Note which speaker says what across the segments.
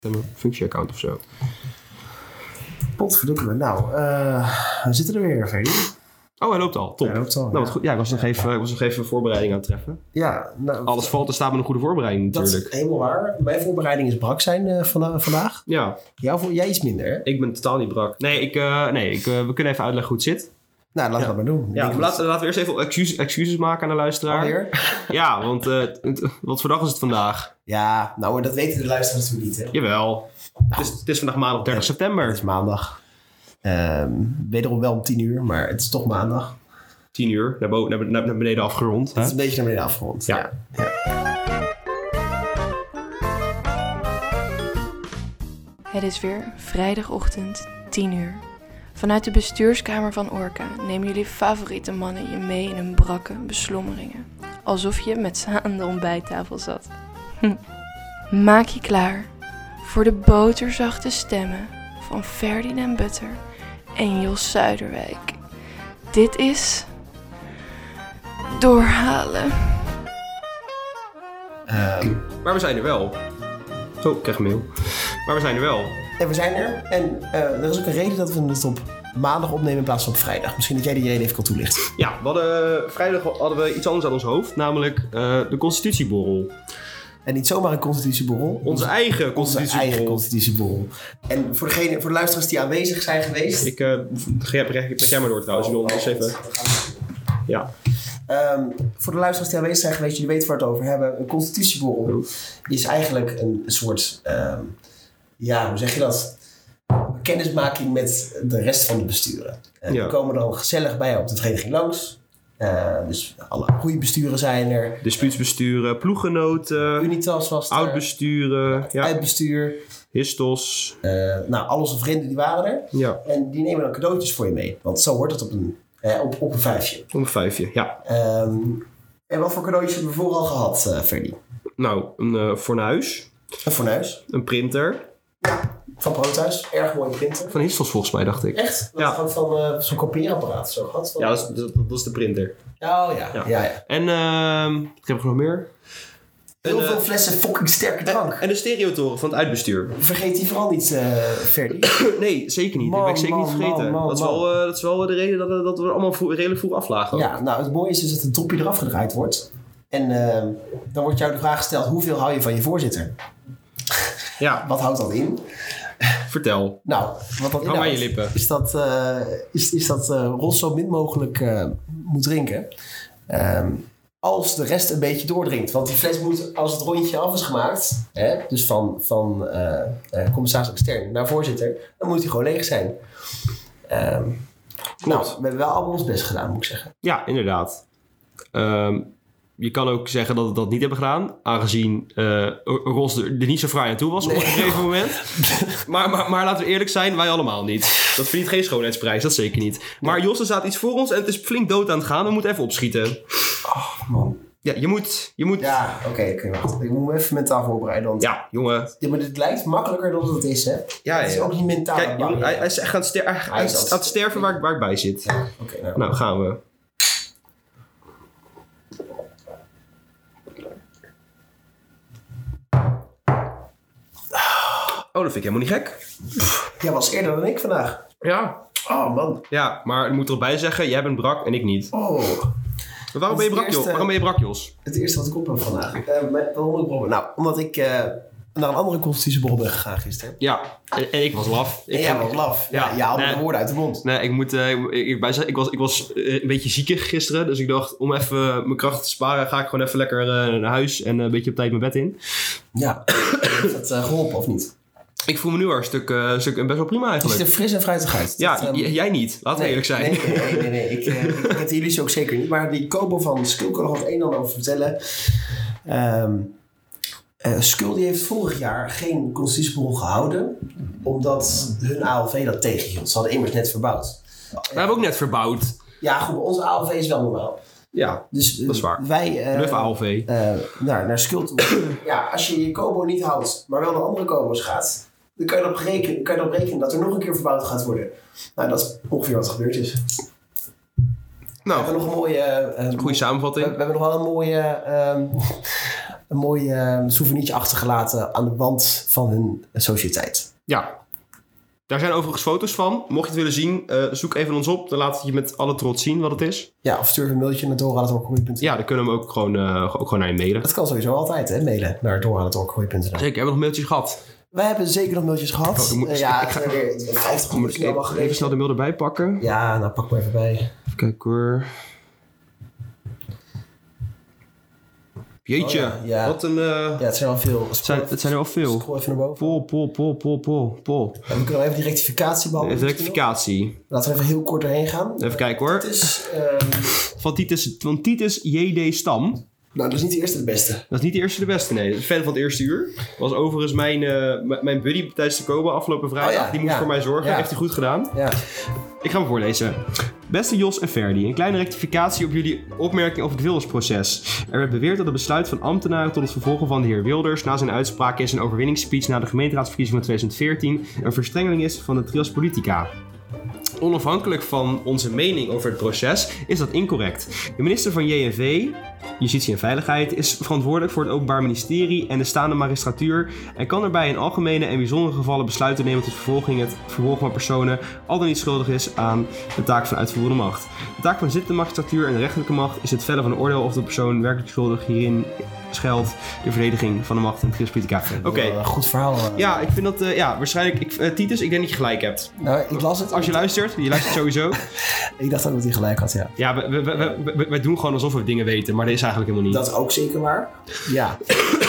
Speaker 1: een functieaccount of zo.
Speaker 2: Potverdomme. Nou, eh, we zitten er weer, Ferdy.
Speaker 1: Oh, hij loopt al. Top.
Speaker 2: Hij loopt al,
Speaker 1: Nou, wat
Speaker 2: ja.
Speaker 1: goed. Ja, ik was nog even, ik was nog even voorbereiding aan het treffen.
Speaker 2: Ja, nou,
Speaker 1: Alles valt en staat met een goede voorbereiding
Speaker 2: dat
Speaker 1: natuurlijk.
Speaker 2: is helemaal waar. Mijn voorbereiding is brak zijn eh, vana- vandaag.
Speaker 1: Ja,
Speaker 2: Jouw, voor- jij iets minder, hè?
Speaker 1: ik ben totaal niet brak. Nee, ik, eh, nee ik, eh, we kunnen even uitleggen hoe het zit.
Speaker 2: Nou, laten we dat maar doen.
Speaker 1: Ja,
Speaker 2: Ik
Speaker 1: maar laten, laten we eerst even excuses, excuses maken aan de luisteraar.
Speaker 2: alweer.
Speaker 1: Ja, want eh, het- wat voor dag is het vandaag?
Speaker 2: Ja, nou, maar dat weten de luisteraars natuurlijk niet, hè?
Speaker 1: Jawel. Het is, het is vandaag maandag 30
Speaker 2: Het
Speaker 1: september.
Speaker 2: is maandag. Ehm, wederom wel om tien uur, maar het is toch maandag.
Speaker 1: 10 uur, naar, bo- naar, be- naar beneden afgerond.
Speaker 2: Het is een beetje naar beneden afgerond.
Speaker 1: Ja.
Speaker 3: Het is weer vrijdagochtend, 10 uur. Vanuit de bestuurskamer van Orca nemen jullie favoriete mannen je mee in hun brakke beslommeringen. Alsof je met z'n aan de ontbijttafel zat. Hm. Maak je klaar voor de boterzachte stemmen van Ferdinand Butter en Jos Zuiderwijk. Dit is... Doorhalen.
Speaker 2: Ehm,
Speaker 1: Maar we zijn er wel. Zo, Oh, ik krijg een mail. Maar we zijn er wel.
Speaker 2: en we zijn er. En eh, er is ook een reden dat we het op maandag opnemen in plaats van op vrijdag. Misschien dat jij die reden even kan toelichten.
Speaker 1: Ja, we hadden, vrijdag hadden we iets anders aan ons hoofd, namelijk eh, de constitutieborrel.
Speaker 2: En niet zomaar een constitutieborrel.
Speaker 1: Onze eigen
Speaker 2: onze eigen
Speaker 1: constitutieborrel.
Speaker 2: constitutieborrel. En voor, degene, voor de luisteraars die aanwezig zijn geweest...
Speaker 1: Ik eh, ga jij- breng jij maar door trouwens. Ik Nou, wil anders even... Ja.
Speaker 2: Ehm, voor de luisteraars die aanwezig zijn geweest, jullie weten waar we het over hebben. Een constitutieborrel is eigenlijk een soort, ehm, ja, hoe zeg je dat? Kennismaking met de rest van de besturen. Eh,
Speaker 1: Ja.
Speaker 2: Die komen dan gezellig bij op de vereniging langs. Eh, dus alle goede besturen zijn er.
Speaker 1: Dispuutsbesturen, ploeggenoten,
Speaker 2: Unitas was er.
Speaker 1: oudbesturen, ja,
Speaker 2: Uitbestuur.
Speaker 1: histos.
Speaker 2: Eh, nou, al onze vrienden die waren er.
Speaker 1: Ja,
Speaker 2: En die nemen dan cadeautjes voor je mee. Want zo hoort het op een, eh, op, op een vijfje.
Speaker 1: om een vijfje. Ja,
Speaker 2: Ehm, en wat voor cadeautjes hebben we vooral gehad, eh Ferdy?
Speaker 1: nou, een eh, fornuis,
Speaker 2: Een fornuis.
Speaker 1: een printer.
Speaker 2: Van Broodhuis. Erg mooie printer.
Speaker 1: Van histos volgens mij, dacht ik.
Speaker 2: Echt? Dat
Speaker 1: Ja.
Speaker 2: ja. van eh, zo'n kopieerapparaat zo gehad. Van...
Speaker 1: Ja, dat is, dat, dat is de printer.
Speaker 2: Oh ja.
Speaker 1: Ja.
Speaker 2: ja. ja, ja.
Speaker 1: En ehm wat heb ik nog meer?
Speaker 2: Heel
Speaker 1: En, eh,
Speaker 2: veel flessen fucking sterke drank.
Speaker 1: En de stereotoren van het uitbestuur.
Speaker 2: Vergeet die vooral niet, eh Ferdy.
Speaker 1: Nee, zeker niet.
Speaker 2: Man,
Speaker 1: dat ben ik zeker
Speaker 2: man,
Speaker 1: niet vergeten.
Speaker 2: man, man,
Speaker 1: dat, is
Speaker 2: man.
Speaker 1: wel, eh, dat is wel de reden dat, dat we allemaal vroeg- redelijk vroeg aflagen. ook.
Speaker 2: ja, nou het mooie is dus dat het dopje eraf gedraaid wordt. En eh, dan wordt jou de vraag gesteld, hoeveel hou je van je voorzitter?
Speaker 1: ja,
Speaker 2: Wat houdt dat in?
Speaker 1: vertel.
Speaker 2: Nou, wat
Speaker 1: Hou
Speaker 2: dat
Speaker 1: aan
Speaker 2: inhoudt,
Speaker 1: je lippen.
Speaker 2: Is dat, eh, is, is dat eh, Ros zo min mogelijk eh, moet drinken. Ehm, als de rest een beetje doordringt. Want die fles moet, als het rondje af is gemaakt. Hè, dus van, van eh, eh, commissaris extern naar voorzitter. Dan moet hij gewoon leeg zijn. Ehm, nou, we hebben wel allemaal ons best gedaan, moet ik zeggen.
Speaker 1: Ja, inderdaad. Ehm, je kan ook zeggen dat we dat niet hebben gedaan, aangezien eh Ros er, er niet zo fraai aan toe was op een gegeven moment. maar, maar, maar laten we eerlijk zijn, wij allemaal niet. Dat verdient geen schoonheidsprijs, dat zeker niet. Maar Jos, er staat iets voor ons en het is flink dood aan het gaan. We moeten even opschieten.
Speaker 2: Man.
Speaker 1: Ja, je moet... Je moet...
Speaker 2: Ja, oké, oké, wacht. Ik moet me even mentaal voorbereiden. Want
Speaker 1: Ja, jongen.
Speaker 2: ja, maar dit lijkt makkelijker dan het is, hè?
Speaker 1: Ja,
Speaker 2: Het is
Speaker 1: ja.
Speaker 2: ook die mentale
Speaker 1: Kijk, jongen, hij,
Speaker 2: barrière.
Speaker 1: hij is echt aan het, ster- hij
Speaker 2: Hij
Speaker 1: is
Speaker 2: is
Speaker 1: aan het sterven waar, ik- waar ik bij zit.
Speaker 2: Oké, nou.
Speaker 1: Nou, gaan we. Oh, dat vind ik helemaal niet gek.
Speaker 2: Jij was eerder dan ik vandaag.
Speaker 1: Ja.
Speaker 2: Oh, man.
Speaker 1: Ja, maar ik moet er ook bij zeggen, jij bent brak en ik niet.
Speaker 2: Oh,
Speaker 1: Maar waarom ben je brak, Jos? Waarom ben je brak, Jos?
Speaker 2: het eerste wat ik op heb vandaag. Eh, maar waarom ik op heb? Nou, omdat ik eh, naar een andere constitutieborrel ben gegaan gisteren.
Speaker 1: Ja, en, en ik was laf. Ik
Speaker 2: En jij
Speaker 1: ging-
Speaker 2: was laf. Ja,
Speaker 1: Ja,
Speaker 2: je haalde
Speaker 1: nee.
Speaker 2: de woorden uit de mond.
Speaker 1: Nee, ik moet eh, ik- ik, bij zeggen, ik was, ik was eh, een beetje ziekig gisteren. Dus ik dacht, om even mijn kracht te sparen, ga ik gewoon even lekker eh, naar huis en eh, een beetje op tijd mijn bed in.
Speaker 2: Ja. Heeft dat eh, geholpen of niet?
Speaker 1: Ik voel me nu al een stuk, eh, een stuk best wel prima
Speaker 2: Je ziet
Speaker 1: eigenlijk.
Speaker 2: er fris en fruitig uit.
Speaker 1: Ja,
Speaker 2: Dat, ehm,
Speaker 1: j- jij niet. Laten we
Speaker 2: nee,
Speaker 1: eerlijk zijn.
Speaker 2: Nee, nee, nee. nee. Ik, eh, ik ken jullie ook zeker niet. Maar die Kobo van Skul kan nog het een en ander over vertellen. Ehm eh, Skul die heeft vorig jaar geen constitutieborrel gehouden. Omdat hun ALV dat tegenhield. Ze hadden immers net verbouwd.
Speaker 1: We hebben ook net verbouwd.
Speaker 2: Ja, goed, maar onze ALV is wel normaal.
Speaker 1: Ja,
Speaker 2: Dus eh,
Speaker 1: Dat is waar.
Speaker 2: wij eh,
Speaker 1: Bluff ALV.
Speaker 2: eh, naar, naar Skuld toe. ja, als je je Kobo niet houdt, maar wel naar andere Kobo's gaat, dan kan je erop rekenen, kan je erop rekenen dat er nog een keer verbouwd gaat worden. Nou, dat is ongeveer wat er gebeurd is. We
Speaker 1: Nou, Oh.
Speaker 2: hebben nog een mooie. eh, eh,
Speaker 1: goede
Speaker 2: we, we
Speaker 1: samenvatting.
Speaker 2: hebben nog wel een mooie. ehm, een mooi eh, souvenirtje achtergelaten aan de wand van hun sociëteit.
Speaker 1: Ja. Daar zijn overigens foto's van. Mocht je het willen zien, eh, zoek even ons op. Dan laten we je met alle trots zien wat het is.
Speaker 2: Ja, of stuur een mailtje naar doorhalen.org.nl.
Speaker 1: Ja, dan kunnen we hem ook gewoon, eh, ook gewoon naar je mailen.
Speaker 2: Dat kan sowieso altijd, hè? Mailen naar doorhalen.org.nl.
Speaker 1: Zeker, hebben we nog mailtjes gehad?
Speaker 2: Wij hebben zeker nog mailtjes gehad.
Speaker 1: Oh, ik moet-
Speaker 2: Eh, ja,
Speaker 1: ik ga-
Speaker 2: weer 50
Speaker 1: Moet ik
Speaker 2: minuten
Speaker 1: even, even snel de mail erbij pakken?
Speaker 2: Ja, nou pak maar even bij.
Speaker 1: Even kijken hoor. Jeetje,
Speaker 2: Oh ja, ja.
Speaker 1: wat een... eh,
Speaker 2: Ja, het zijn al veel.
Speaker 1: het, zijn, het zijn er wel veel.
Speaker 2: Scroll even naar boven.
Speaker 1: Pol, pol, pol, pol, pol, pol.
Speaker 2: En we kunnen wel even die rectificatie behandelen.
Speaker 1: Even rectificatie.
Speaker 2: Laten we even heel kort doorheen gaan.
Speaker 1: Even kijken hoor.
Speaker 2: Het is, ehm,
Speaker 1: Van Titus, van Titus J.D. Stam.
Speaker 2: nou, dat is niet de eerste de beste.
Speaker 1: Dat is niet de eerste de beste, nee. Fan van het eerste uur. Was overigens mijn, eh, m- mijn buddy tijdens de Koba afgelopen vrijdag.
Speaker 2: Oh ja,
Speaker 1: die moest
Speaker 2: ja.
Speaker 1: voor mij zorgen.
Speaker 2: Ja.
Speaker 1: Heeft hij goed gedaan.
Speaker 2: Ja.
Speaker 1: Ik ga hem voorlezen. Beste Jos en Ferdi, een kleine rectificatie op jullie opmerking over het Wildersproces. Er werd beweerd dat het besluit van ambtenaren tot het vervolgen van de heer Wilders na zijn uitspraak in zijn overwinningsspeech na de gemeenteraadsverkiezingen van 2014 een verstrengeling is van de trias politica. Onafhankelijk van onze mening over het proces is dat incorrect. De minister van JNV, Justitie en Veiligheid, is verantwoordelijk voor het Openbaar Ministerie en de staande magistratuur en kan daarbij in algemene en bijzondere gevallen besluiten nemen tot vervolging het vervolgen van personen al dan niet schuldig is aan de taak van uitvoerende macht. De taak van de zittende magistratuur en de rechterlijke macht is het vellen van een oordeel of de persoon werkelijk schuldig hierin schuilt de verdediging van de macht en de politica. Oké.
Speaker 2: Wel Een goed verhaal. eh.
Speaker 1: Ja, ik vind dat, eh, ja, waarschijnlijk, ik, eh, Titus, ik denk dat je gelijk hebt.
Speaker 2: Nou, ik las het.
Speaker 1: Als je luistert, je luistert sowieso.
Speaker 2: Ik dacht ook dat hij gelijk had, ja.
Speaker 1: Ja, we, we, we, we- we- wij doen gewoon alsof we dingen weten, maar dat is eigenlijk helemaal niet.
Speaker 2: Dat is ook zeker waar. Ja.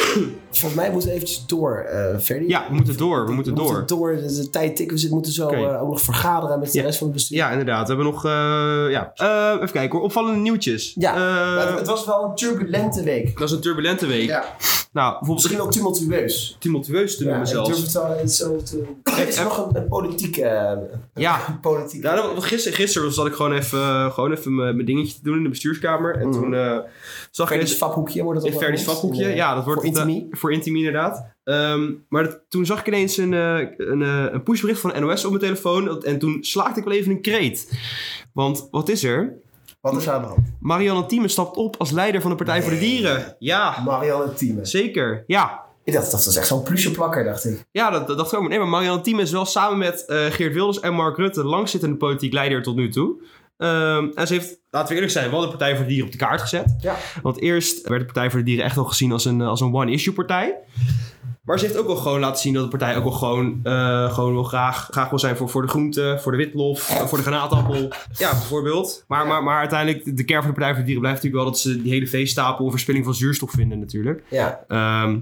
Speaker 2: Volgens mij moeten we eventjes door, eh Ferdi.
Speaker 1: Ja, we moeten door, we moeten
Speaker 2: We
Speaker 1: door.
Speaker 2: moeten door. De, de tijd tikken. We zitten- moeten zo
Speaker 1: Oké.
Speaker 2: eh, ook nog vergaderen met de
Speaker 1: Ja.
Speaker 2: rest van het bestuur.
Speaker 1: Ja, inderdaad. We hebben nog, eh, ja. Eh, even kijken hoor, opvallende nieuwtjes.
Speaker 2: Ja,
Speaker 1: Eh,
Speaker 2: maar het, het was wel een turbulente week.
Speaker 1: dat was een turbulente week.
Speaker 2: Ja.
Speaker 1: Nou, bijvoorbeeld
Speaker 2: Misschien wel tumultueus.
Speaker 1: tumultueus te
Speaker 2: Ja,
Speaker 1: noemen
Speaker 2: ik
Speaker 1: zelfs.
Speaker 2: durf het wel eens zo te... Het is
Speaker 1: eh,
Speaker 2: nog een, een politiek... eh,
Speaker 1: Ja.
Speaker 2: een politiek.
Speaker 1: Ja, dat was- gisteren, gisteren zat ik gewoon even, eh, gewoon even mijn, mijn dingetje te doen in de bestuurskamer.
Speaker 2: Mhm.
Speaker 1: En toen eh, zag ik...
Speaker 2: Verdi's vaphoekje wordt het
Speaker 1: In Verdi's vakhoekje, ja, dat wordt
Speaker 2: eh, voor
Speaker 1: inderdaad-
Speaker 2: intimie.
Speaker 1: voor Intimie inderdaad. Ehm, maar dat- toen zag ik ineens een, eh, een, eh, een pushbericht van NOS op mijn telefoon. Dat- En toen slaakte ik wel even een kreet. Want wat is er?
Speaker 2: Wat is er aan de hand?
Speaker 1: Marianne Thieme stapt op als leider van de Partij voor de
Speaker 2: Nee.
Speaker 1: Dieren. Ja,
Speaker 2: Marianne Thieme.
Speaker 1: zeker. Ja.
Speaker 2: Ik dacht, dat was echt zo'n pluche plakker, dacht ik.
Speaker 1: Ja, dat, dat dacht ik ook. Nee, maar Marianne Thieme is wel samen met eh, Geert Wilders en Mark Rutte de langzittende politiek leider tot nu toe. Ehm, en ze heeft, laten we eerlijk zijn, wel de Partij voor de Dieren op de kaart gezet.
Speaker 2: Ja.
Speaker 1: Want eerst werd de Partij voor de Dieren echt wel gezien als een, eh, als een one-issue partij. Maar ze heeft ook wel gewoon laten zien dat de partij ook wel gewoon, eh, gewoon wel graag, graag wil zijn voor, voor de groente, voor de witlof, eh, voor de granaatappel. Ja, bijvoorbeeld. Maar, maar, maar uiteindelijk, de kern van de Partij voor de Dieren blijft natuurlijk wel dat ze die hele veestapel verspilling van zuurstof vinden natuurlijk.
Speaker 2: Ja.
Speaker 1: Ehm,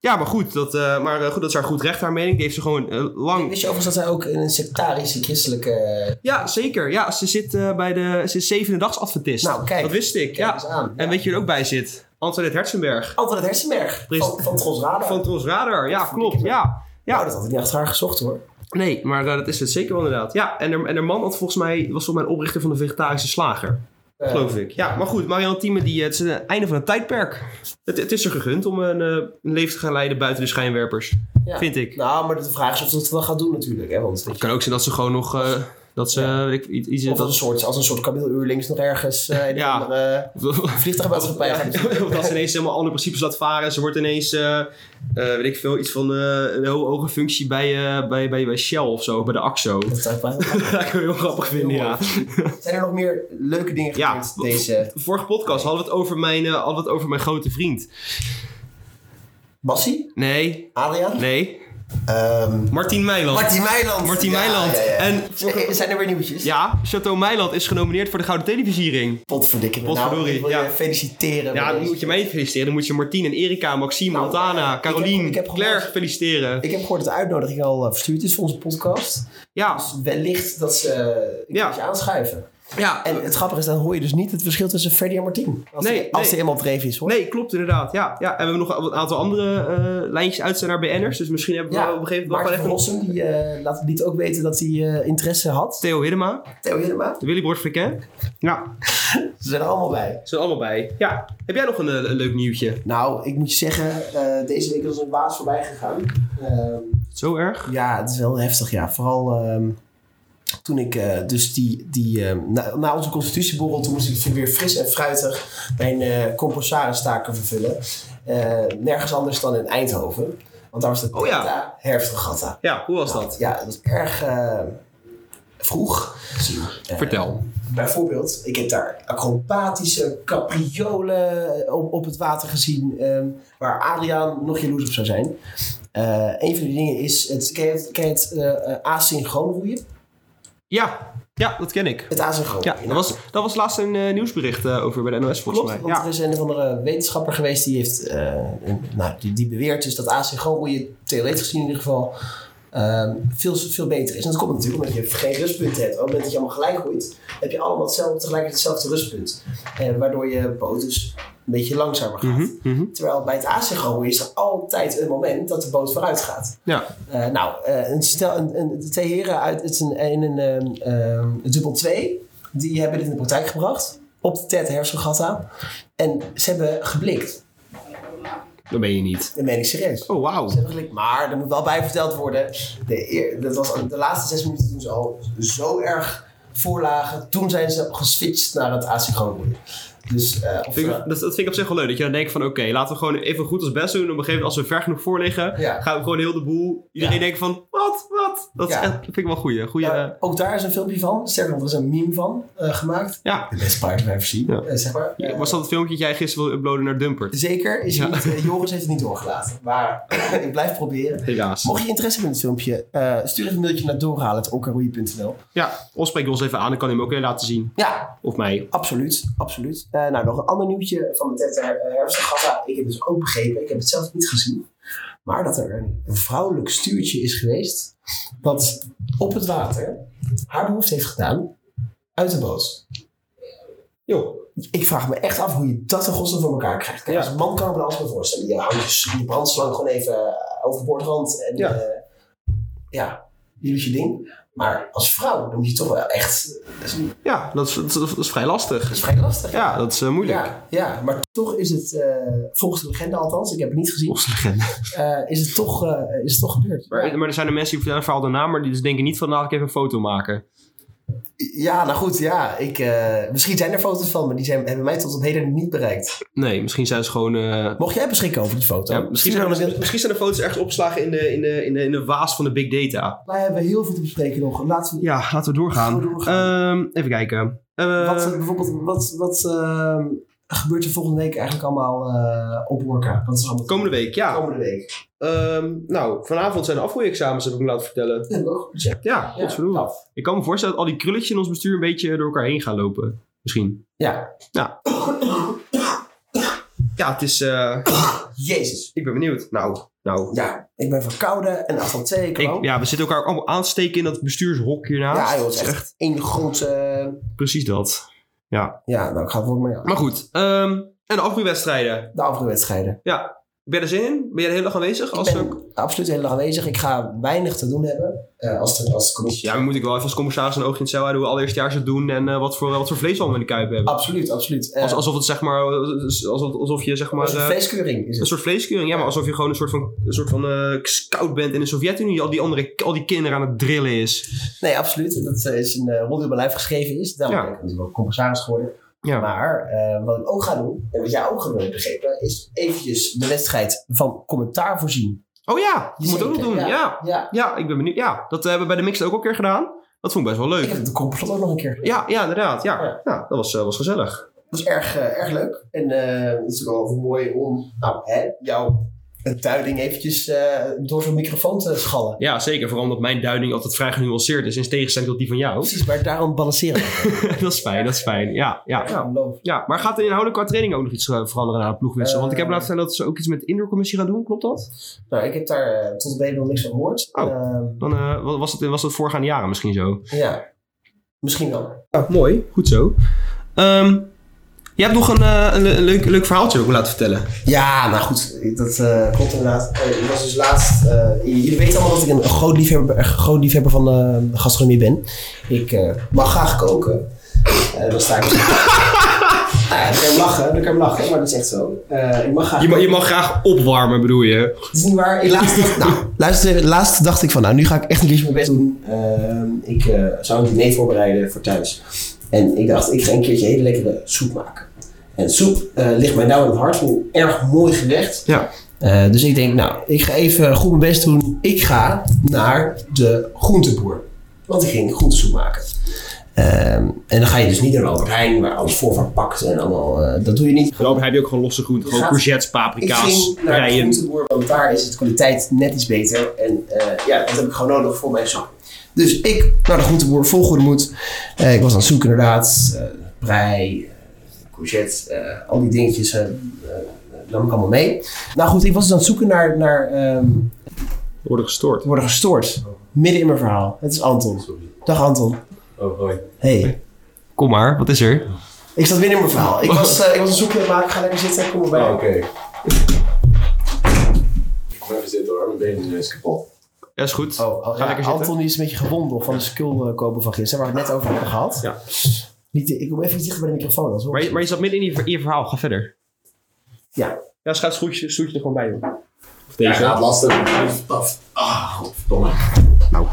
Speaker 1: ja, maar goed, dat, eh, maar, eh, goed, dat is haar goed recht, haar mening. Die heeft ze gewoon eh, lang...
Speaker 2: Wist je overigens dat zij ook in een sectarische christelijke...
Speaker 1: Ja, zeker. Ja, ze zit eh, bij de... Ze is zevendedagsadventist.
Speaker 2: Nou, kijk.
Speaker 1: Dat wist ik,
Speaker 2: Kijk
Speaker 1: ja.
Speaker 2: eens aan.
Speaker 1: En
Speaker 2: Ja.
Speaker 1: weet je wie er ook bij zit? Antoinette Hertzenberg.
Speaker 2: Altijd Hersenberg.
Speaker 1: Precies.
Speaker 2: Van, van Tros Radar.
Speaker 1: Van Tros Radar. Ja, klopt. Ja.
Speaker 2: Nou,
Speaker 1: ja.
Speaker 2: dat had ik niet achter haar gezocht, hoor.
Speaker 1: Nee, maar eh, dat is het zeker wel inderdaad. Ja, en haar, en haar man had volgens mij, was volgens mij een oprichter van de vegetarische slager.
Speaker 2: Eh,
Speaker 1: Geloof ik. Ja, maar goed, Marianne Thieme, die, eh, het is het einde van een tijdperk. Het, het is er gegund om een, eh, een leven te gaan leiden buiten de schijnwerpers.
Speaker 2: ja.
Speaker 1: Vind ik.
Speaker 2: Nou, maar de vraag is of ze dat wel gaat doen natuurlijk. Hè? Want,
Speaker 1: Het kan ook zijn dat ze gewoon nog... eh, dat ze
Speaker 2: Ja.
Speaker 1: weet ik, iets... iets-
Speaker 2: of als
Speaker 1: dat,
Speaker 2: een soort, als een soort kameeluurlings nog ergens eh in
Speaker 1: Ja.
Speaker 2: een andere vliegtuigmaatschappij gaat doen.
Speaker 1: Of dat ze ineens helemaal andere principes laat varen. en Ze wordt ineens, eh, eh, weet ik veel, iets van eh, een heel hoge functie bij, eh, bij, bij, bij Shell of zo, bij de AXO.
Speaker 2: Dat zou ik wel heel-
Speaker 1: Dat kan ik heel grappig vinden, ja.
Speaker 2: Zijn er nog meer leuke dingen
Speaker 1: Ja.
Speaker 2: gebeurd deze...
Speaker 1: Vorige podcast hadden we het over mijn, eh, hadden we het over mijn grote vriend.
Speaker 2: Bassie?
Speaker 1: Nee,
Speaker 2: Adriaan?
Speaker 1: nee.
Speaker 2: Ehm,
Speaker 1: Martin Meiland.
Speaker 2: Martin Meiland.
Speaker 1: Martin Meiland. En-
Speaker 2: Zeg, zijn er weer nieuwtjes?
Speaker 1: Ja, Chateau Meiland is genomineerd voor de Gouden Televisiering.
Speaker 2: Potverdikke.
Speaker 1: Potverdorie,
Speaker 2: Nou, ik wil
Speaker 1: ja.
Speaker 2: je feliciteren.
Speaker 1: Ja,
Speaker 2: met
Speaker 1: dan
Speaker 2: deze.
Speaker 1: moet je mij niet feliciteren. Dan moet je Martien en Erika, Maxime,
Speaker 2: Nou,
Speaker 1: Montana,
Speaker 2: eh, ik
Speaker 1: Caroline,
Speaker 2: heb- ik heb
Speaker 1: Claire
Speaker 2: gehoord-
Speaker 1: feliciteren.
Speaker 2: Ik heb gehoord dat de uitnodiging al eh, verstuurd is voor onze podcast.
Speaker 1: Ja,
Speaker 2: Dus wellicht dat ze eh, een
Speaker 1: Ja.
Speaker 2: keertje aanschuiven.
Speaker 1: ja.
Speaker 2: En het grappige is, dan hoor je dus niet het verschil tussen Freddy en Martin. Als
Speaker 1: Nee,
Speaker 2: die- als
Speaker 1: nee.
Speaker 2: die eenmaal dreven is, hoor.
Speaker 1: Nee, klopt inderdaad. Ja, ja. En we hebben nog een aantal andere eh, lijntjes uit zijn naar BN'ers. Dus misschien hebben we
Speaker 2: Ja,
Speaker 1: wel op een gegeven moment
Speaker 2: Maarten
Speaker 1: nog
Speaker 2: van
Speaker 1: wel even...
Speaker 2: Rossum, die eh, laat liet ook weten dat hij eh, interesse had.
Speaker 1: Theo Hiddema,
Speaker 2: Theo Hiddema,
Speaker 1: Willy Bordfrikken. Ja,
Speaker 2: ze zijn er allemaal bij.
Speaker 1: ze zijn allemaal bij. Ja, heb jij nog een, eh, een leuk nieuwtje?
Speaker 2: Nou, ik moet je zeggen, eh, deze week is een waas voorbij gegaan. Ehm,
Speaker 1: Zo erg?
Speaker 2: Ja, het is wel heftig. Ja. Vooral ehm, toen ik eh, dus die, die ehm, na, na onze constitutieborrel, toen moest ik weer fris en fruitig mijn eh compensarenstaken vervullen. eh, nergens anders dan in Eindhoven. Want daar was de
Speaker 1: Oh ja.
Speaker 2: Delta herfstregatta.
Speaker 1: Ja, hoe was dat?
Speaker 2: Ja, dat was erg eh, vroeg. Eh,
Speaker 1: Vertel.
Speaker 2: Bijvoorbeeld, ik heb daar acrobatische capriolen eh, op, op het water gezien. ehm, waar Adriaan nog jaloers op zou zijn. Eh, een van die dingen is, het, ken je het, ken je het eh, eh, asynchroon roeien?
Speaker 1: Ja, ja dat ken ik.
Speaker 2: Het asynchroon
Speaker 1: Ja,
Speaker 2: roeien.
Speaker 1: dat was, dat was laatst een eh, nieuwsbericht eh, over bij de NOS volgens
Speaker 2: nou. Klopt,
Speaker 1: mij.
Speaker 2: want eh,
Speaker 1: Ja.
Speaker 2: er is een of andere wetenschapper geweest die heeft, eh, een- nou, die, die beweert dus dat asynchroon roeien, theoretisch gezien in ieder geval, ehm, veel, veel beter is. En dat komt natuurlijk omdat je geen rustpunten hebt. Op het moment dat je allemaal gelijk roeit, heb je allemaal hetzelfde, tegelijk hetzelfde rustpunt. Eh, waardoor je boot dus een beetje langzamer gaat.
Speaker 1: mhm.
Speaker 2: Terwijl bij het asynchroon roeien is er altijd een moment dat de boot vooruit gaat.
Speaker 1: Ja.
Speaker 2: Eh, nou, eh, een stel, een, een, de twee heren uit het is een, een, een, ehm, ehm, een dubbel 2, die hebben dit in de praktijk gebracht op de Ted Hersengatta. En ze hebben geblikt.
Speaker 1: dat ben je niet.
Speaker 2: Dat meen ik serieus.
Speaker 1: Oh, wauw.
Speaker 2: Ze hebben geblikt. Maar er moet wel bij verteld worden. De, eer- dat was, de laatste zes minuten toen ze al zo erg voorlagen. Toen zijn ze geswitcht naar het asynchroon roeien. Dus, eh, of,
Speaker 1: Vind ik-
Speaker 2: eh,
Speaker 1: dat, dat vind ik op zich wel leuk. Dat je dan denkt van oké, laten we gewoon even goed ons best doen. Op een gegeven moment, als we ver genoeg voor liggen,
Speaker 2: Ja.
Speaker 1: gaan we gewoon heel de boel. Iedereen
Speaker 2: Ja.
Speaker 1: denkt van wat, wat. Dat is
Speaker 2: Ja.
Speaker 1: echt- dat vind ik wel een goeie. goeie eh,
Speaker 2: ja, ook daar is een filmpje van. Sterker nog, er is een meme van eh, gemaakt.
Speaker 1: ja.
Speaker 2: De beste paard die we hebben gezien.
Speaker 1: Ja.
Speaker 2: eh, zeg maar.
Speaker 1: Ja,
Speaker 2: Eh,
Speaker 1: Was dat het filmpje dat jij gisteren wilde uploaden naar Dumpert?
Speaker 2: Zeker. Is hij niet, eh, Joris heeft het niet doorgelaten. Maar ik blijf proberen.
Speaker 1: Helaas.
Speaker 2: Mocht je interesse hebben in het filmpje, eh, stuur even een mailtje naar doorhalen.okaroei.nl.
Speaker 1: Ja, of spreek ons even aan. Ik kan hem ook weer laten zien.
Speaker 2: Ja,
Speaker 1: Of mij.
Speaker 2: absoluut. absoluut. Eh, nou, nog een ander nieuwtje van de tent Herfstagata. Ik heb dus ook begrepen, ik heb het zelf niet gezien. Maar dat er een, een vrouwelijk stuurtje is geweest. dat op het water haar behoefte heeft gedaan uit de boot.
Speaker 1: Jo.
Speaker 2: Ik vraag me echt af hoe je dat in godsnaam voor elkaar krijgt. Kijk,
Speaker 1: Ja.
Speaker 2: Als man kan ik me alles bij voorstellen. Je houdt je, je brandslang gewoon even eh, overboord rand. En
Speaker 1: Ja.
Speaker 2: ja. ja, je doet je ding. Maar als vrouw dan moet je toch wel echt... Dat is, dat
Speaker 1: Ja, dat is, dat is, dat is vrij lastig.
Speaker 2: is vrij lastig.
Speaker 1: Ja, dat is eh, moeilijk.
Speaker 2: Ja, ja, maar toch is het, eh, volgens de legende althans, ik heb het niet gezien,
Speaker 1: Volgens de legende.
Speaker 2: eh, is, het toch, eh, is het toch gebeurd.
Speaker 1: Maar, maar er zijn er mensen die vertellen een verhaal daarna, maar die dus denken niet van nou, laat ik even een foto maken.
Speaker 2: Ja, nou goed, ja. Ik, eh, misschien zijn er foto's van, maar die zijn, hebben mij tot op heden niet bereikt.
Speaker 1: Nee, misschien zijn ze gewoon... eh,
Speaker 2: Mocht jij beschikken over die foto?
Speaker 1: ja, misschien,
Speaker 2: Stuur
Speaker 1: zijn,
Speaker 2: dan een
Speaker 1: misschien- misschien zijn de foto's ergens opgeslagen in de, in, de, in, de, in de waas van de big data.
Speaker 2: Wij hebben heel veel te bespreken nog. Laten we
Speaker 1: Ja, laten we doorgaan.
Speaker 2: Laten we doorgaan.
Speaker 1: Ehm, even kijken. Eh,
Speaker 2: Wat, eh, bijvoorbeeld, wat, wat ehm, gebeurt er volgende week eigenlijk allemaal eh, op Worka? Wat is er allemaal
Speaker 1: komende week, ja.
Speaker 2: komende week?
Speaker 1: Ehm, nou, vanavond zijn de afvoerexamens, heb ik me laten vertellen.
Speaker 2: Ja, toch? Ja,
Speaker 1: Ja, godverdomme.
Speaker 2: ja.
Speaker 1: Ik kan me voorstellen dat al die krulletjes in ons bestuur een beetje door elkaar heen gaan lopen. Misschien.
Speaker 2: Ja.
Speaker 1: Ja. Ja, het is... eh,
Speaker 2: Jezus.
Speaker 1: ik ben benieuwd. Nou, nou.
Speaker 2: Ja, ik ben verkouden en af van twee. Ik,
Speaker 1: Ik,
Speaker 2: ja,
Speaker 1: ja, we zitten elkaar ook allemaal aansteken in dat bestuurshok hiernaast.
Speaker 2: ja joh, het is echt één grote...
Speaker 1: Precies dat.
Speaker 2: eh, ja, nou, ik ga het woord maar aan.
Speaker 1: Maar goed, ehm, en de afgroeiwedstrijden.
Speaker 2: De afgelopen wedstrijden.
Speaker 1: Ben je er zin in? Ben je de hele dag aanwezig? Als
Speaker 2: ik ben
Speaker 1: ook...
Speaker 2: absoluut heel erg aanwezig. Ik ga weinig te doen hebben eh, als, de, als de commissie.
Speaker 1: Ja, dan moet ik wel even als commissaris een oogje in het zeil houden hoe we allereerstjaars het doen en eh, wat, voor, wat voor vlees we allemaal in de kuip hebben.
Speaker 2: Absoluut, absoluut. Eh,
Speaker 1: Als, alsof het zeg maar, alsof, alsof je zeg maar...
Speaker 2: een
Speaker 1: eh,
Speaker 2: vleeskeuring is
Speaker 1: een
Speaker 2: het.
Speaker 1: soort vleeskeuring, ja, maar alsof je gewoon een soort van, een soort van eh, scout bent in de Sovjet-Unie, die al die andere, al die kinderen aan het drillen is.
Speaker 2: Nee, absoluut. Dat eh, is een eh, rol die op mijn lijf geschreven is. Daarom
Speaker 1: Ja.
Speaker 2: ben ik natuurlijk ook commissaris geworden.
Speaker 1: Ja.
Speaker 2: Maar eh, wat ik ook ga doen, en wat jij ook gaat doen, heb ik begrepen, is eventjes de wedstrijd van commentaar voorzien.
Speaker 1: Oh ja, je moet
Speaker 2: Zeker,
Speaker 1: ook nog doen, ja.
Speaker 2: ja.
Speaker 1: ja.
Speaker 2: Ja,
Speaker 1: ik ben benieuwd. Ja, dat hebben we bij de mix ook al een keer gedaan. Dat vond ik best wel
Speaker 2: ik
Speaker 1: leuk.
Speaker 2: heb het de complot ook nog een keer.
Speaker 1: Ja, ja inderdaad. Ja.
Speaker 2: Ja.
Speaker 1: Ja, dat was, eh, was gezellig.
Speaker 2: Dat was erg, eh, erg leuk. En eh, het is ook wel mooi om nou, hè, jouw duiding eventjes eh, door zo'n microfoon te schallen.
Speaker 1: Ja, zeker. Vooral omdat mijn duiding altijd vrij genuanceerd is. In tegenstelling tot die van jou.
Speaker 2: Precies, maar daarom balanceren we. Nou,
Speaker 1: dat is fijn, dat is fijn. Ja, ja,
Speaker 2: Ja,
Speaker 1: ja.
Speaker 2: geloof.
Speaker 1: ja. Maar gaat er inhoudelijk qua training ook nog iets eh, veranderen aan de ploegwissel? Want ik heb
Speaker 2: Eh.
Speaker 1: laten staan dat ze ook iets met de indoorcommissie gaan doen. Klopt dat?
Speaker 2: Nou, ik heb daar eh, tot op heden nog niks van gehoord.
Speaker 1: Oh.
Speaker 2: Ehm,
Speaker 1: Dan eh, wa- was, het, was het voorgaande jaren misschien zo.
Speaker 2: ja, misschien wel.
Speaker 1: Ah, mooi. Goed zo. Ehm, je hebt nog een, eh, een, le- een leuk, leuk verhaaltje ook laten vertellen.
Speaker 2: Ja, nou goed, dat eh, klopt inderdaad. Eh, ik was dus laatst. eh, jullie weten allemaal dat ik een groot liefhebber, een groot liefhebber van eh, gastronomie ben. Ik eh, mag graag koken. Eh dan sta ik. Nou ja, dan kan je hem lachen, dan kan je hem lachen, maar dat is echt zo. Eh, ik mag graag.
Speaker 1: Je, ma- je mag graag opwarmen, bedoel je?
Speaker 2: Het is niet waar. Ik laatst, dacht, nou, luister even, laatst dacht ik van, nou, nu ga ik echt een keertje mijn best doen. Ehm, ik eh, zou een diner voorbereiden voor thuis. En ik dacht, ik ga een keertje hele lekkere soep maken. En soep eh, ligt mij nou in het hart. Een erg mooi gerecht.
Speaker 1: Ja.
Speaker 2: Eh, dus ik denk, nou, ik ga even goed mijn best doen. Ik ga naar de groenteboer. Want ik ging groentesoep maken. Ehm, en dan ga je dus niet naar de Albert Heijn, waar alles voorverpakt en allemaal. eh, dat doe je niet.
Speaker 1: Lopen heb je ook gewoon losse groenten. Gewoon
Speaker 2: Gaat-
Speaker 1: courgettes,
Speaker 2: Ik
Speaker 1: paprika's,
Speaker 2: ging naar de
Speaker 1: rijen.
Speaker 2: groenteboer, want daar is de kwaliteit net iets beter. En eh, ja, dat heb ik gewoon nodig voor mijn soep. Dus ik naar de groenteboer, vol goede moed. Eh, ik was aan het zoeken inderdaad. eh brei, eh, courgette, eh, al die dingetjes eh, eh, nam ik allemaal mee. Nou goed, ik was dus aan het zoeken naar, naar ehm,
Speaker 1: Worden gestoord.
Speaker 2: worden gestoord. Midden in mijn verhaal. Het is Anton. Dag Anton.
Speaker 4: Oh, hoi.
Speaker 2: Hey.
Speaker 1: Kom maar, wat is er?
Speaker 2: Ik zat midden in mijn verhaal. Ik was, eh, ik was een zoekje aan het maken. Ga lekker zitten. Kom erbij.
Speaker 4: Oh, Oké. Kom even zitten hoor, mijn benen is kapot.
Speaker 1: Ja, is goed.
Speaker 2: Oh, oh,
Speaker 1: Ga
Speaker 2: ja,
Speaker 1: lekker zitten.
Speaker 2: Anton die is een beetje gewond nog van de skull kopen van gisteren. Waar we het net over hebben gehad.
Speaker 1: Ja.
Speaker 2: Niet, ik kom even iets dichter bij de microfoon. anders hoor
Speaker 1: Maar, je,
Speaker 2: ik
Speaker 1: maar je zat midden in je, ver- in je verhaal. Ga verder.
Speaker 2: Ja.
Speaker 1: Ja, schuif het stoeltje, stoeltje er gewoon bij, joh. Of
Speaker 4: Ja,
Speaker 1: deze.
Speaker 4: gaat lastig. Paf. Ah, godverdomme.
Speaker 1: Nou.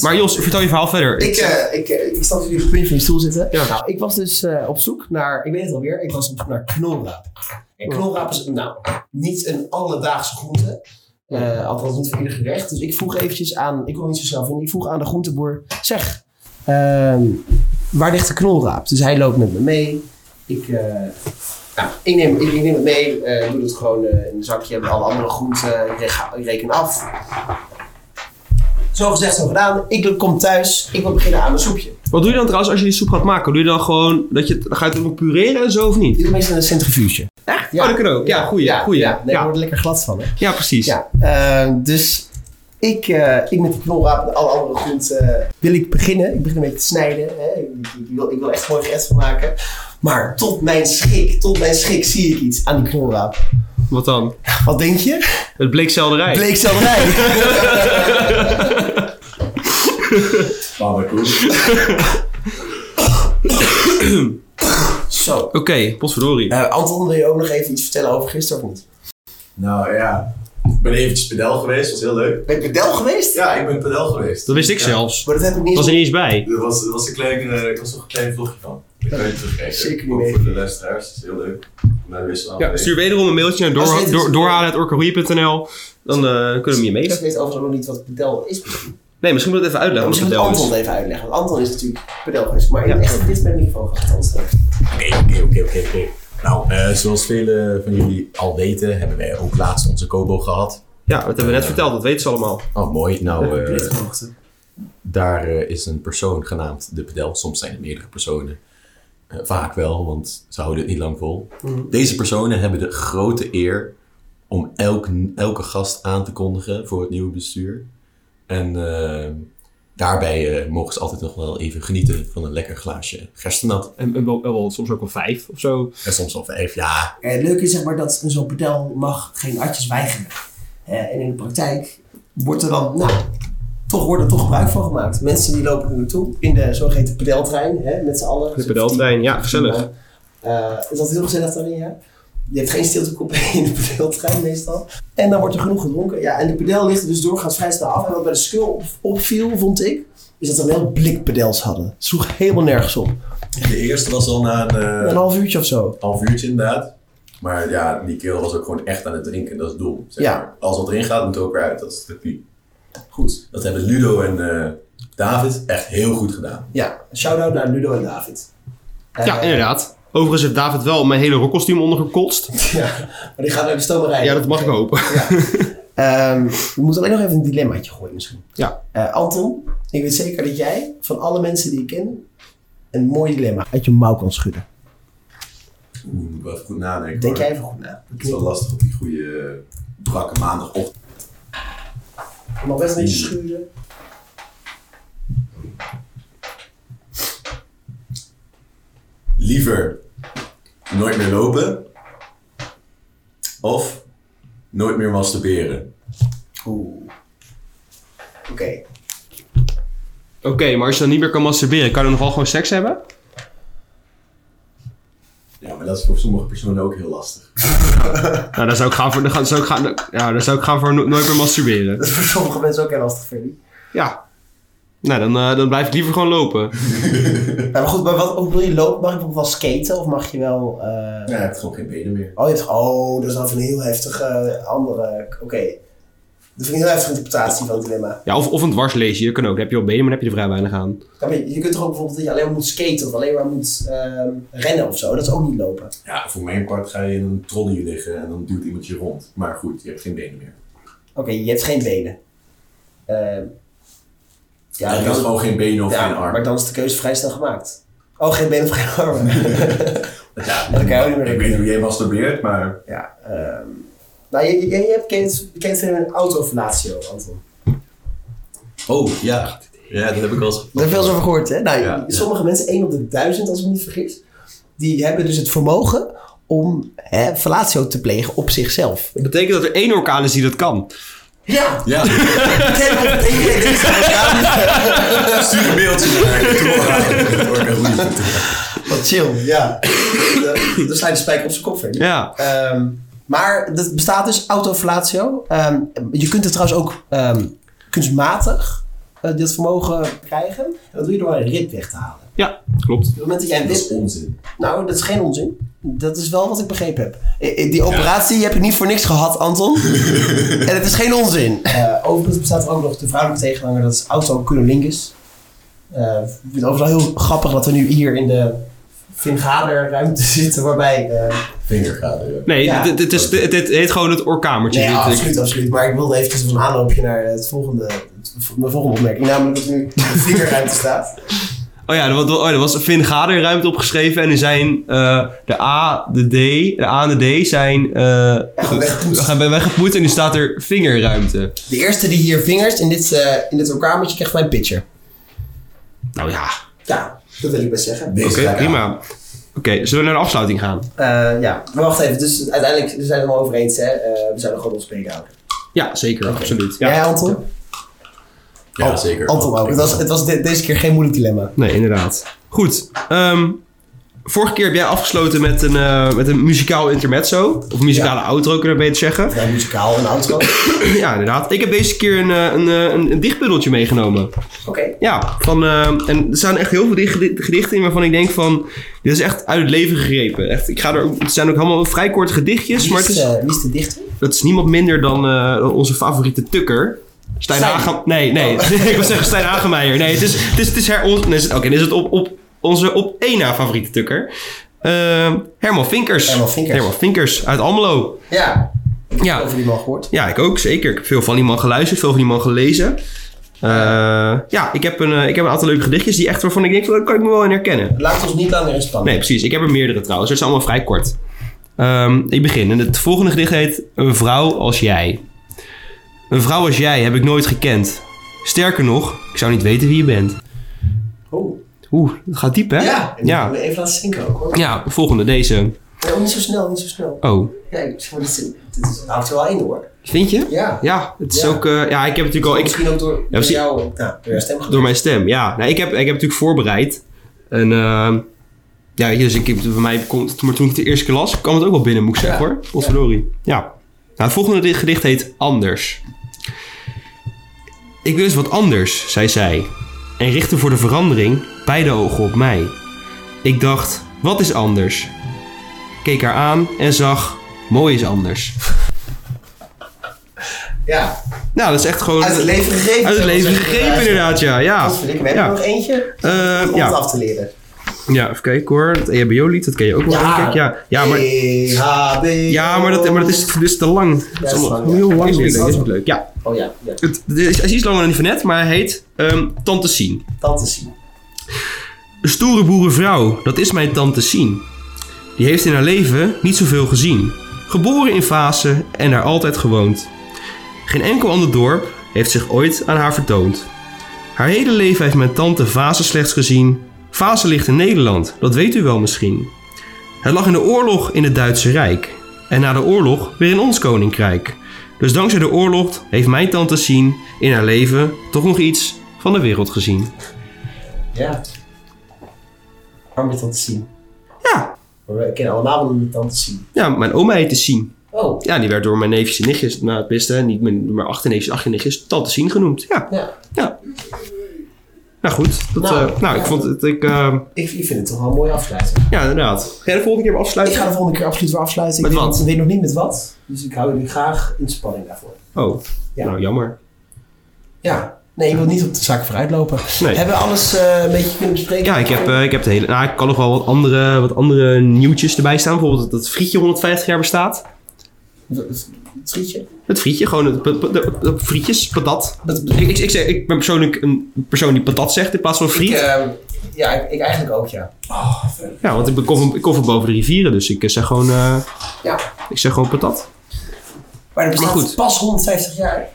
Speaker 1: maar Jos, vertel je verhaal verder.
Speaker 2: Ik, eh, ik, eh, ik stond hier op het puntje van je stoel zitten.
Speaker 1: Ja.
Speaker 2: Nou, ik was dus eh, op zoek naar, ik weet het alweer, ik was op zoek naar knolraap. En knolraap is nou, niet een alledaagse groente. Eh, althans niet voor ieder gerecht. Dus ik vroeg eventjes aan, ik kon niet zo snel vinden, ik vroeg aan de groenteboer, zeg, ehm, waar ligt de knolraap? Dus hij loopt met me mee. Ik, eh, nou, ik, neem, ik, ik neem het mee, eh, doe het gewoon eh, in een zakje met alle andere groenten, ik reg- ik reken af. Zo gezegd, zo gedaan. Ik kom thuis. Ik wil beginnen aan mijn soepje.
Speaker 1: Wat doe je dan trouwens als je die soep gaat maken? Doe je dan gewoon dat je het, ga je het ook nog pureren en zo of niet?
Speaker 2: Ik doe meestal een centrifuge.
Speaker 1: Echt? Ja.
Speaker 2: Ja.
Speaker 1: Oh, dat kan ook. Ja, goeie.
Speaker 2: ja,
Speaker 1: goeie.
Speaker 2: Ja,
Speaker 1: Ja,
Speaker 2: nee, ik word er lekker glad van. Hè?
Speaker 1: Ja, precies.
Speaker 2: Ja, eh, dus ik, eh, ik met de knolraap en alle andere groenten wil ik beginnen. Ik begin een beetje te snijden. Hè? Ik, ik wil, ik wil echt mooi gerecht van maken. Maar tot mijn schrik, tot mijn schrik zie ik iets aan die knolraap.
Speaker 1: Wat dan?
Speaker 2: Wat denk je?
Speaker 1: Het bleek selderij.
Speaker 2: Bleekselderij.
Speaker 4: Barbecoe.
Speaker 2: Zo.
Speaker 1: Oké, potverdorie.
Speaker 2: Eh, Anton, wil je ook nog even iets vertellen over gisteren of niet?
Speaker 4: Nou ja, ik ben eventjes pedel geweest, was heel leuk.
Speaker 2: Ben je bedel geweest?
Speaker 4: Ja, ik ben pedel geweest.
Speaker 1: Dat wist ik
Speaker 4: Ja.
Speaker 1: zelfs.
Speaker 2: Maar dat heb ik niet
Speaker 1: Dat was er niet eens bij.
Speaker 4: Er was, er was een klein, eh, er was nog een klein vlogje van. Ik kan je terugkijken.
Speaker 2: Zeker niet
Speaker 4: Ook
Speaker 2: mee.
Speaker 4: Voor de luisteraars, dat is heel leuk. Wij wisten wel.
Speaker 1: Ja, stuur wederom een mailtje naar
Speaker 2: Als je
Speaker 1: door,
Speaker 2: het-
Speaker 1: door, doorhalen.orkaroei.nl. Dan eh, kunnen we je
Speaker 2: Ik
Speaker 1: mee.
Speaker 2: weet overigens nog niet wat bedel is.
Speaker 1: Nee, misschien moet ik het even uitleggen.
Speaker 2: Misschien
Speaker 1: wat
Speaker 2: moet
Speaker 1: het
Speaker 2: Anton
Speaker 1: is.
Speaker 2: het even uitleggen. Want Anton is natuurlijk pedel geweest. Maar ik ben echt dit bij de microfoon gehad. Anton.
Speaker 4: Oké, oké, oké, oké, oké. Nou, eh, zoals velen van jullie al weten, hebben wij ook laatst onze Kobo gehad.
Speaker 1: Ja, dat hebben we net verteld. Dat weten ze allemaal.
Speaker 4: Oh, mooi. Nou, eh,
Speaker 2: Lichthoogte.
Speaker 4: daar eh, is een persoon genaamd de pedel. Soms zijn het meerdere personen. Eh, vaak wel, want ze houden het niet lang vol. Deze personen hebben de grote eer om elk, elke gast aan te kondigen voor het nieuwe bestuur. En eh, daarbij eh, mogen ze altijd nog wel even genieten van een lekker glaasje gerstenat.
Speaker 1: En, en wel, wel soms ook wel vijf of zo.
Speaker 4: En soms al vijf, ja,
Speaker 2: Eh, het leuke is zeg maar dat een zo'n pedel mag geen artjes weigeren. Eh, en in de praktijk wordt er dan, nou, toch wordt er toch gebruik van gemaakt. Mensen die lopen er naartoe in de zogeheten pedeltrein, hè, met z'n allen.
Speaker 1: De pedeltrein, ja, gezellig.
Speaker 2: Eh, is dat heel gezellig daarin, ja? Je hebt geen stiltekop in de pedeltrein meestal. En dan wordt er genoeg gedronken. Ja, en de pedel ligt er dus doorgaans vrij snel af. En wat bij de skull op- opviel, vond ik, is dat we wel blikpedels hadden. Het sloeg helemaal nergens op.
Speaker 4: De eerste was al na een eh,
Speaker 2: Een half uurtje of zo.
Speaker 4: half uurtje inderdaad. Maar ja, die kerel was ook gewoon echt aan het drinken. Dat is het doel. zeg
Speaker 2: Ja.
Speaker 4: maar. Als wat erin gaat, moet er ook weer uit. Dat is de pie.
Speaker 2: Goed.
Speaker 4: Dat hebben Ludo en eh, David echt heel goed gedaan.
Speaker 2: Ja, shout-out naar Ludo en David.
Speaker 1: Ja,
Speaker 2: Eh,
Speaker 1: inderdaad. Overigens heeft David wel mijn hele rokkostuum ondergekotst.
Speaker 2: ja, maar die gaat naar de stomerij.
Speaker 1: Ja, dat mag ik hopen.
Speaker 2: Ehm, we moeten alleen nog even een dilemmaatje gooien misschien.
Speaker 1: Ja.
Speaker 2: Eh, Anton, ik weet zeker dat jij van alle mensen die ik ken... een mooi dilemma uit je mouw kan schudden.
Speaker 4: Oeh, moet ik wel even goed nadenken.
Speaker 2: Denk
Speaker 4: hoor.
Speaker 2: jij even goed na.
Speaker 4: Het is wel lastig op die goede eh, brakke maandagochtend.
Speaker 2: Je mag best een beetje
Speaker 1: Hmm.
Speaker 2: schuren.
Speaker 4: Liever nooit meer lopen of nooit meer masturberen.
Speaker 2: Oeh. Oké.
Speaker 1: Oké, maar als je dan niet meer kan masturberen, kan je dan nogal gewoon seks hebben?
Speaker 4: Ja, maar dat is voor sommige personen ook heel lastig.
Speaker 1: Nou, daar zou ik gaan voor, daar ga- zou ik gaan, ja, daar zou ik gaan voor no- nooit meer masturberen.
Speaker 2: Dat is voor sommige mensen ook heel lastig, Ferry.
Speaker 1: Ja. Nou, dan, eh, dan blijf ik liever gewoon lopen.
Speaker 2: Nou, maar goed, maar wat, hoe wil je lopen? Mag je bijvoorbeeld wel skaten of mag je wel... eh,
Speaker 4: Ja, het is gewoon geen benen meer.
Speaker 2: Oh, je hebt, oh, dat is dan van een heel heftige eh, andere... Oké. Dat vind ik een heel heftige interpretatie van het dilemma.
Speaker 1: Ja, of, of een dwarsleesje, dat kan ook. Dan heb je wel benen, maar dan heb je er vrij weinig aan.
Speaker 2: Ja, maar je je kunt toch ook bijvoorbeeld dat je alleen maar moet skaten of alleen maar moet ehm, rennen of zo. Dat is ook niet lopen.
Speaker 4: Ja, voor mijn part ga je in een trolley liggen en dan duwt iemand je rond. Maar goed, je hebt geen benen meer.
Speaker 2: Oké, je hebt geen benen. Ehm,
Speaker 4: Ja, dat is gewoon geen benen of
Speaker 2: ja,
Speaker 4: geen arm.
Speaker 2: Maar dan is de keuze vrij snel gemaakt. Oh, geen benen of geen armen.
Speaker 4: Ja,
Speaker 2: dat kan je ook niet meer
Speaker 4: ik weet niet hoe jij masturbeert, maar...
Speaker 2: Ja, ehm, nou, je, je, je hebt kent, kent een autofellatio, Anton.
Speaker 4: Oh, ja. Ja, dat heb ik wel eens...
Speaker 2: Daar heb je wel eens over gehoord, hè? Nou,
Speaker 4: Ja.
Speaker 2: sommige mensen, 1 op de duizend, als ik me niet vergis, die hebben dus het vermogen om hè, fellatio te plegen op zichzelf.
Speaker 1: Dat betekent dat er één orkaan is die dat kan.
Speaker 2: Ja!
Speaker 4: Ja,
Speaker 2: Ik ken dat één keer dit zou gaan.
Speaker 4: stuur een mailtje naar
Speaker 2: Wat chill, ja. Dan sla je de spijker op zijn kop, verder.
Speaker 1: Ja.
Speaker 2: Ehm, maar dat bestaat dus, autoflatio. Ehm, je kunt het trouwens ook ehm, kunstmatig, eh, dit vermogen krijgen. En dat doe je door een rib weg te halen. Op
Speaker 1: Ja, klopt.
Speaker 2: het moment dat jij een
Speaker 4: Dat is
Speaker 2: rib...
Speaker 4: onzin.
Speaker 2: Nou, dat is geen onzin. Dat is wel wat ik begrepen heb. Eh, eh, Die operatie heb je niet voor niks gehad, Anton. en het is geen onzin. Eh, overigens bestaat er ook nog de vrouwelijke tegenhanger. Dat is autocunnilingus. Eh, ik vind het overigens wel heel grappig dat we nu hier in de Vingader-ruimte zitten. Waarbij... eh,
Speaker 4: Vingergader, ja.
Speaker 1: Nee,
Speaker 2: Ja.
Speaker 1: dit, dit is, dit, dit heet gewoon het orkamertje.
Speaker 2: Nee,
Speaker 1: Dit-
Speaker 2: absoluut, absoluut. Maar ik wilde eventjes een aanloopje naar het volgende, het- mijn volgende opmerking. Namelijk dat nu de vingerruimte staat.
Speaker 1: Oh ja, er was, oh, er was een Vin Gader ruimte opgeschreven en er zijn eh, de A, de D, de A en de D zijn eh
Speaker 2: gewoon weggepoetst.
Speaker 1: gaan bij weggepoet en nu staat er vingerruimte.
Speaker 2: De eerste die hier vingers in dit, eh in dit orkamertje krijgt mijn pitcher.
Speaker 1: Nou ja,
Speaker 2: Ja, dat wil ik best zeggen. Dus,
Speaker 4: Deze
Speaker 1: oké,
Speaker 4: ga ik aan.
Speaker 1: prima. Oké, zullen we naar de afsluiting gaan?
Speaker 2: Eh, ja, maar wacht even. Dus uiteindelijk we zijn we het allemaal over eens, hè? Eh, we zouden gewoon ons been houden.
Speaker 1: Ja, zeker, absoluut.
Speaker 2: Ja,
Speaker 1: Ja.
Speaker 2: Anton?
Speaker 4: Ja, zeker.
Speaker 2: Anton ook. Het was, het was de- deze keer geen moeilijk dilemma.
Speaker 1: Nee, inderdaad. Goed, ehm, vorige keer heb jij afgesloten met een, eh, met een muzikaal intermezzo. Of muzikale outro, kunnen we beter zeggen.
Speaker 2: Ja, muzikaal en outro. Oké.
Speaker 1: ja, inderdaad. Ik heb deze keer een, eh, een, eh, een, een dichtbundeltje meegenomen. Ja, van, eh, en er staan echt heel veel gedi- gedichten in waarvan ik denk van... Dit is echt uit het leven gegrepen. Echt, ik ga er, ook- het zijn ook allemaal vrij korte gedichtjes.
Speaker 2: Wie,
Speaker 1: Maar
Speaker 2: is
Speaker 1: het is,
Speaker 2: de- wie is de dichter?
Speaker 1: dat is niemand minder dan, eh, dan onze favoriete tukker. Stijn
Speaker 2: Stijn.
Speaker 1: Hagen... Nee, nee.
Speaker 2: Oh.
Speaker 1: ik wil zeggen Stijn Hagemeijer. Nee, het is, het is, het is her... on- nee, is het- Oké, dan is het op, op onze op één na favoriete tukker. Eh, Herman Vinkers.
Speaker 2: Herman Vinkers.
Speaker 1: Herman Vinkers uit Almelo.
Speaker 2: Ja,
Speaker 1: Ja.
Speaker 2: over die man gehoord.
Speaker 1: Ja, ik ook, zeker. Ik heb veel van die man geluisterd, veel van die man gelezen. Eh, ja, ik heb, een, eh, ik heb een aantal leuke gedichtjes die echt waarvan ik denk, van, daar kan ik me wel in herkennen.
Speaker 2: Laat ons niet langer in spanning.
Speaker 1: Nee, precies. Ik heb er meerdere trouwens. Het zijn allemaal vrij kort. Ehm, ik begin. En het volgende gedicht heet Een vrouw als jij. Een vrouw als jij heb ik nooit gekend. Sterker nog, ik zou niet weten wie je bent.
Speaker 2: Oh.
Speaker 1: Oeh, dat gaat diep, hè?
Speaker 2: Ja, ik
Speaker 1: Ja,
Speaker 2: moet even laten zinken ook hoor.
Speaker 1: ja volgende, deze.
Speaker 2: Ja, niet zo snel, niet zo snel.
Speaker 1: Oh,
Speaker 2: Ja, ik zeg maar, dit, is- dit is- het houdt er wel in hoor.
Speaker 1: vind je?
Speaker 2: Ja.
Speaker 1: Ja, het is
Speaker 2: Ja.
Speaker 1: ook... eh, ja, ik heb natuurlijk al... Ik,
Speaker 2: Misschien ook door, door
Speaker 1: precies.
Speaker 2: jou, nou, door jouw stem
Speaker 1: Door mijn stem, ja. Nou, ik, heb, ik heb natuurlijk voorbereid. En ehm, ja, weet je, dus ik, ik- bij mij komt, maar toen ik de eerste keer las, kwam het ook wel binnen, moet ik zeggen
Speaker 2: Ja.
Speaker 1: hoor. Potverdorie. Ja. Nou, het volgende di- gedicht heet Anders. Ik wil eens wat anders, zei zij. En richtte voor de verandering beide ogen op mij. Ik dacht, wat is anders? Keek haar aan en zag, mooi is anders.
Speaker 2: Ja,
Speaker 1: Nou, dat is echt gewoon...
Speaker 2: uit het leven gegrepen.
Speaker 1: Uit het leven gegrepen inderdaad, ja. ja.
Speaker 2: Godverdikke, we hebben
Speaker 1: ja.
Speaker 2: er nog eentje
Speaker 1: Eh,
Speaker 2: om
Speaker 1: ja.
Speaker 2: het af te leren.
Speaker 1: Ja, even kijken hoor. Dat E EHBO-lied, dat ken je ook wel,
Speaker 2: Ja. E
Speaker 1: denk ik. Ja, ja maar,
Speaker 2: EHBO.
Speaker 1: ja, maar, dat, maar dat is, dit is te lang. Het is
Speaker 2: is
Speaker 1: allemaal
Speaker 2: lang, ja.
Speaker 1: heel lang.
Speaker 2: Is
Speaker 1: weer,
Speaker 2: het
Speaker 1: Dat is
Speaker 2: zo?
Speaker 1: ook leuk. Ja,
Speaker 2: Oh ja, ja.
Speaker 1: het, het is, hij is iets langer dan die van net, maar hij heet ehm Tante Sien.
Speaker 2: Tante zien.
Speaker 1: Een stoere boerenvrouw, dat is mijn tante Sien. Die heeft in haar leven niet zoveel gezien. Geboren in Vaassen en daar altijd gewoond. Geen enkel ander dorp heeft zich ooit aan haar vertoond. Haar hele leven heeft mijn tante Vaassen slechts gezien. Vaassen ligt in Nederland, dat weet u wel misschien. Het lag in de oorlog in het Duitse Rijk. En na de oorlog weer in ons koninkrijk. Dus dankzij de oorlog heeft mijn tante Sien in haar leven toch nog iets van de wereld gezien.
Speaker 2: Ja. Waarom met tante zien?
Speaker 1: Ja,
Speaker 2: We kennen allemaal wel tante zien.
Speaker 1: Ja, mijn oma heette Sien.
Speaker 2: Oh,
Speaker 1: Ja, die werd door mijn neefjes en nichtjes, nou het beste, niet mijn, maar acht en neefjes, acht en nichtjes, tante Sien genoemd. Ja,
Speaker 2: ja.
Speaker 1: ja. Nou goed, dat,
Speaker 2: Nou,
Speaker 1: eh, nou ik
Speaker 2: ja.
Speaker 1: vond het, ik, eh,
Speaker 2: Ik, ik vind het toch wel een mooie afsluiting.
Speaker 1: ja inderdaad. Ga je de volgende keer weer
Speaker 2: Ik
Speaker 1: afsluiten?
Speaker 2: ga de volgende keer absoluut weer afsluiten.
Speaker 1: Met
Speaker 2: ik weet,
Speaker 1: wat?
Speaker 2: nog- weet nog niet met wat. Dus ik hou jullie graag in spanning daarvoor.
Speaker 1: Oh,
Speaker 2: Ja.
Speaker 1: nou jammer.
Speaker 2: Ja. Nee, ik wil niet op de zaak vooruitlopen.
Speaker 1: Nee.
Speaker 2: Hebben we alles eh, een beetje kunnen bespreken?
Speaker 1: Ja, ik heb, eh, ik heb de hele... Nou, ik kan nog wel wat andere, wat andere nieuwtjes erbij staan. Bijvoorbeeld dat het frietje 150 jaar bestaat.
Speaker 2: Het frietje?
Speaker 1: Het frietje, gewoon het, pa- pa- de- de- frietjes, patat.
Speaker 2: Dat-
Speaker 1: Ik, ik, ik, zeg, ik ben persoonlijk een persoon die patat zegt in plaats van friet.
Speaker 2: Ik, eh, ja, ik, ik eigenlijk ook, ja.
Speaker 1: Ja, want ik ben- kom, van- ik kom van boven de rivieren, dus ik eh, zeg gewoon, eh,
Speaker 2: Ja.
Speaker 1: ik zeg gewoon patat.
Speaker 2: Maar dat bestaat
Speaker 1: Maar goed.
Speaker 2: pas 150 jaar.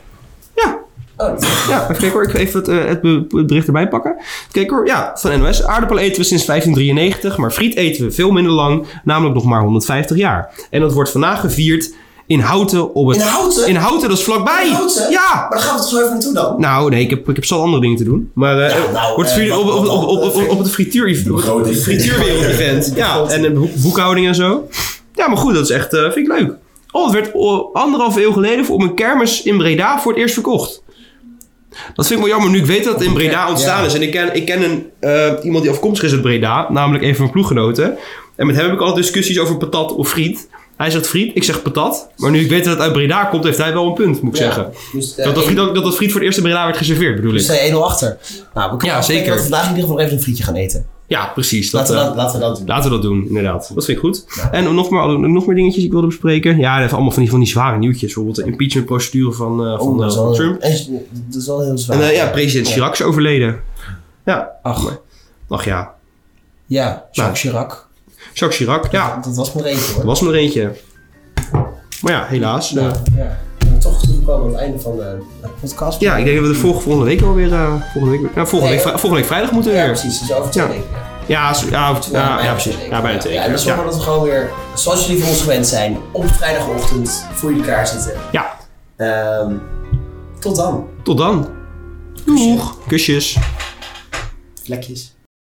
Speaker 1: Ja,
Speaker 2: Oh, dat is-
Speaker 1: ja. Even kijken hoor, ik ga even het, eh, het, be- het bericht erbij pakken. Kijk hoor, ja, van NOS. Aardappelen eten we sinds 1593, maar friet eten we veel minder lang, namelijk nog maar 150 jaar. En dat wordt vandaag gevierd in Houten op het...
Speaker 2: In Houten?
Speaker 1: In Houten, dat is vlakbij.
Speaker 2: In Houten?
Speaker 1: Ja.
Speaker 2: Maar daar gaan we toch zo even naartoe dan?
Speaker 1: Nou, nee, ik heb, ik heb zo andere dingen te doen. Maar eh,
Speaker 2: Ja, nou,
Speaker 1: wordt
Speaker 2: eh,
Speaker 1: gevierd op, op, op, op, op, op het
Speaker 4: grote
Speaker 1: frituur,
Speaker 4: event.
Speaker 1: frituurwereld-event. Ja, en een boek- boekhouding en zo. Ja, maar goed, dat is echt, eh, vind ik leuk. Oh, het werd o- anderhalf eeuw geleden voor- op een kermis in Breda voor het eerst verkocht. Dat vind ik wel jammer, nu ik weet dat het in Breda ontstaan
Speaker 2: ja.
Speaker 1: is. En ik ken, ik ken een, eh, iemand die afkomstig is uit Breda, namelijk een van mijn ploeggenoten. En met hem heb ik altijd discussies over patat of friet. Hij zegt friet, ik zeg patat. Maar nu ik weet dat het uit Breda komt, heeft hij wel een punt, moet ik zeggen.
Speaker 2: Ja. Dus, eh,
Speaker 1: Dat dat,
Speaker 2: één-
Speaker 1: friet, dat, dat friet voor het eerst in Breda werd geserveerd, bedoel
Speaker 2: dus
Speaker 1: ik.
Speaker 2: sta je 1-0 achter. Nou, we kunnen
Speaker 1: Ja,
Speaker 2: afspreken
Speaker 1: zeker.
Speaker 2: dat we vandaag in ieder geval nog even een frietje gaan eten.
Speaker 1: Ja, precies. Dat,
Speaker 2: Laten, we,
Speaker 1: eh,
Speaker 2: dat, laten we dat doen.
Speaker 1: laten we dat doen, inderdaad. Dat vind ik goed. En nog, maar, nog meer dingetjes die ik wilde bespreken. Ja, even allemaal van die, van die zware nieuwtjes. Bijvoorbeeld de impeachmentprocedure van, eh,
Speaker 2: Oh,
Speaker 1: van, eh,
Speaker 2: dat, is
Speaker 1: van
Speaker 2: wel,
Speaker 1: Trump.
Speaker 2: en- dat is wel heel zwaar.
Speaker 1: En eh, ja, president Chirac is overleden. Ja.
Speaker 2: Ach,
Speaker 1: Ach ja.
Speaker 2: ja, Jacques Chirac.
Speaker 1: Jacques Chirac, Nou, ja.
Speaker 2: Dat was maar even hoor.
Speaker 1: Er was maar eentje. Maar ja, helaas. eh.
Speaker 2: Nou, ja. We zijn toch toegekomen aan het einde van eh, de podcast.
Speaker 1: ja, ik denk dat we de volgende, volgende week alweer... eh, volgende, week, nou, volgende, week,
Speaker 2: Nee.
Speaker 1: vrij- volgende week vrijdag moeten we
Speaker 2: Ja,
Speaker 1: weer.
Speaker 2: precies. Dus over twee
Speaker 1: Ja.
Speaker 2: weken.
Speaker 1: Ja, zo- ja, of- ja, ja, precies. Ja, bijna twee
Speaker 2: Ja, en dat
Speaker 1: weken.
Speaker 2: is wel
Speaker 1: Ja.
Speaker 2: dat we gewoon weer, zoals jullie van ons gewend zijn, op vrijdagochtend voor jullie klaar zitten.
Speaker 1: ja,
Speaker 2: Ehm, tot dan.
Speaker 1: tot dan. Doeg. Kusjes.
Speaker 2: Vlekjes.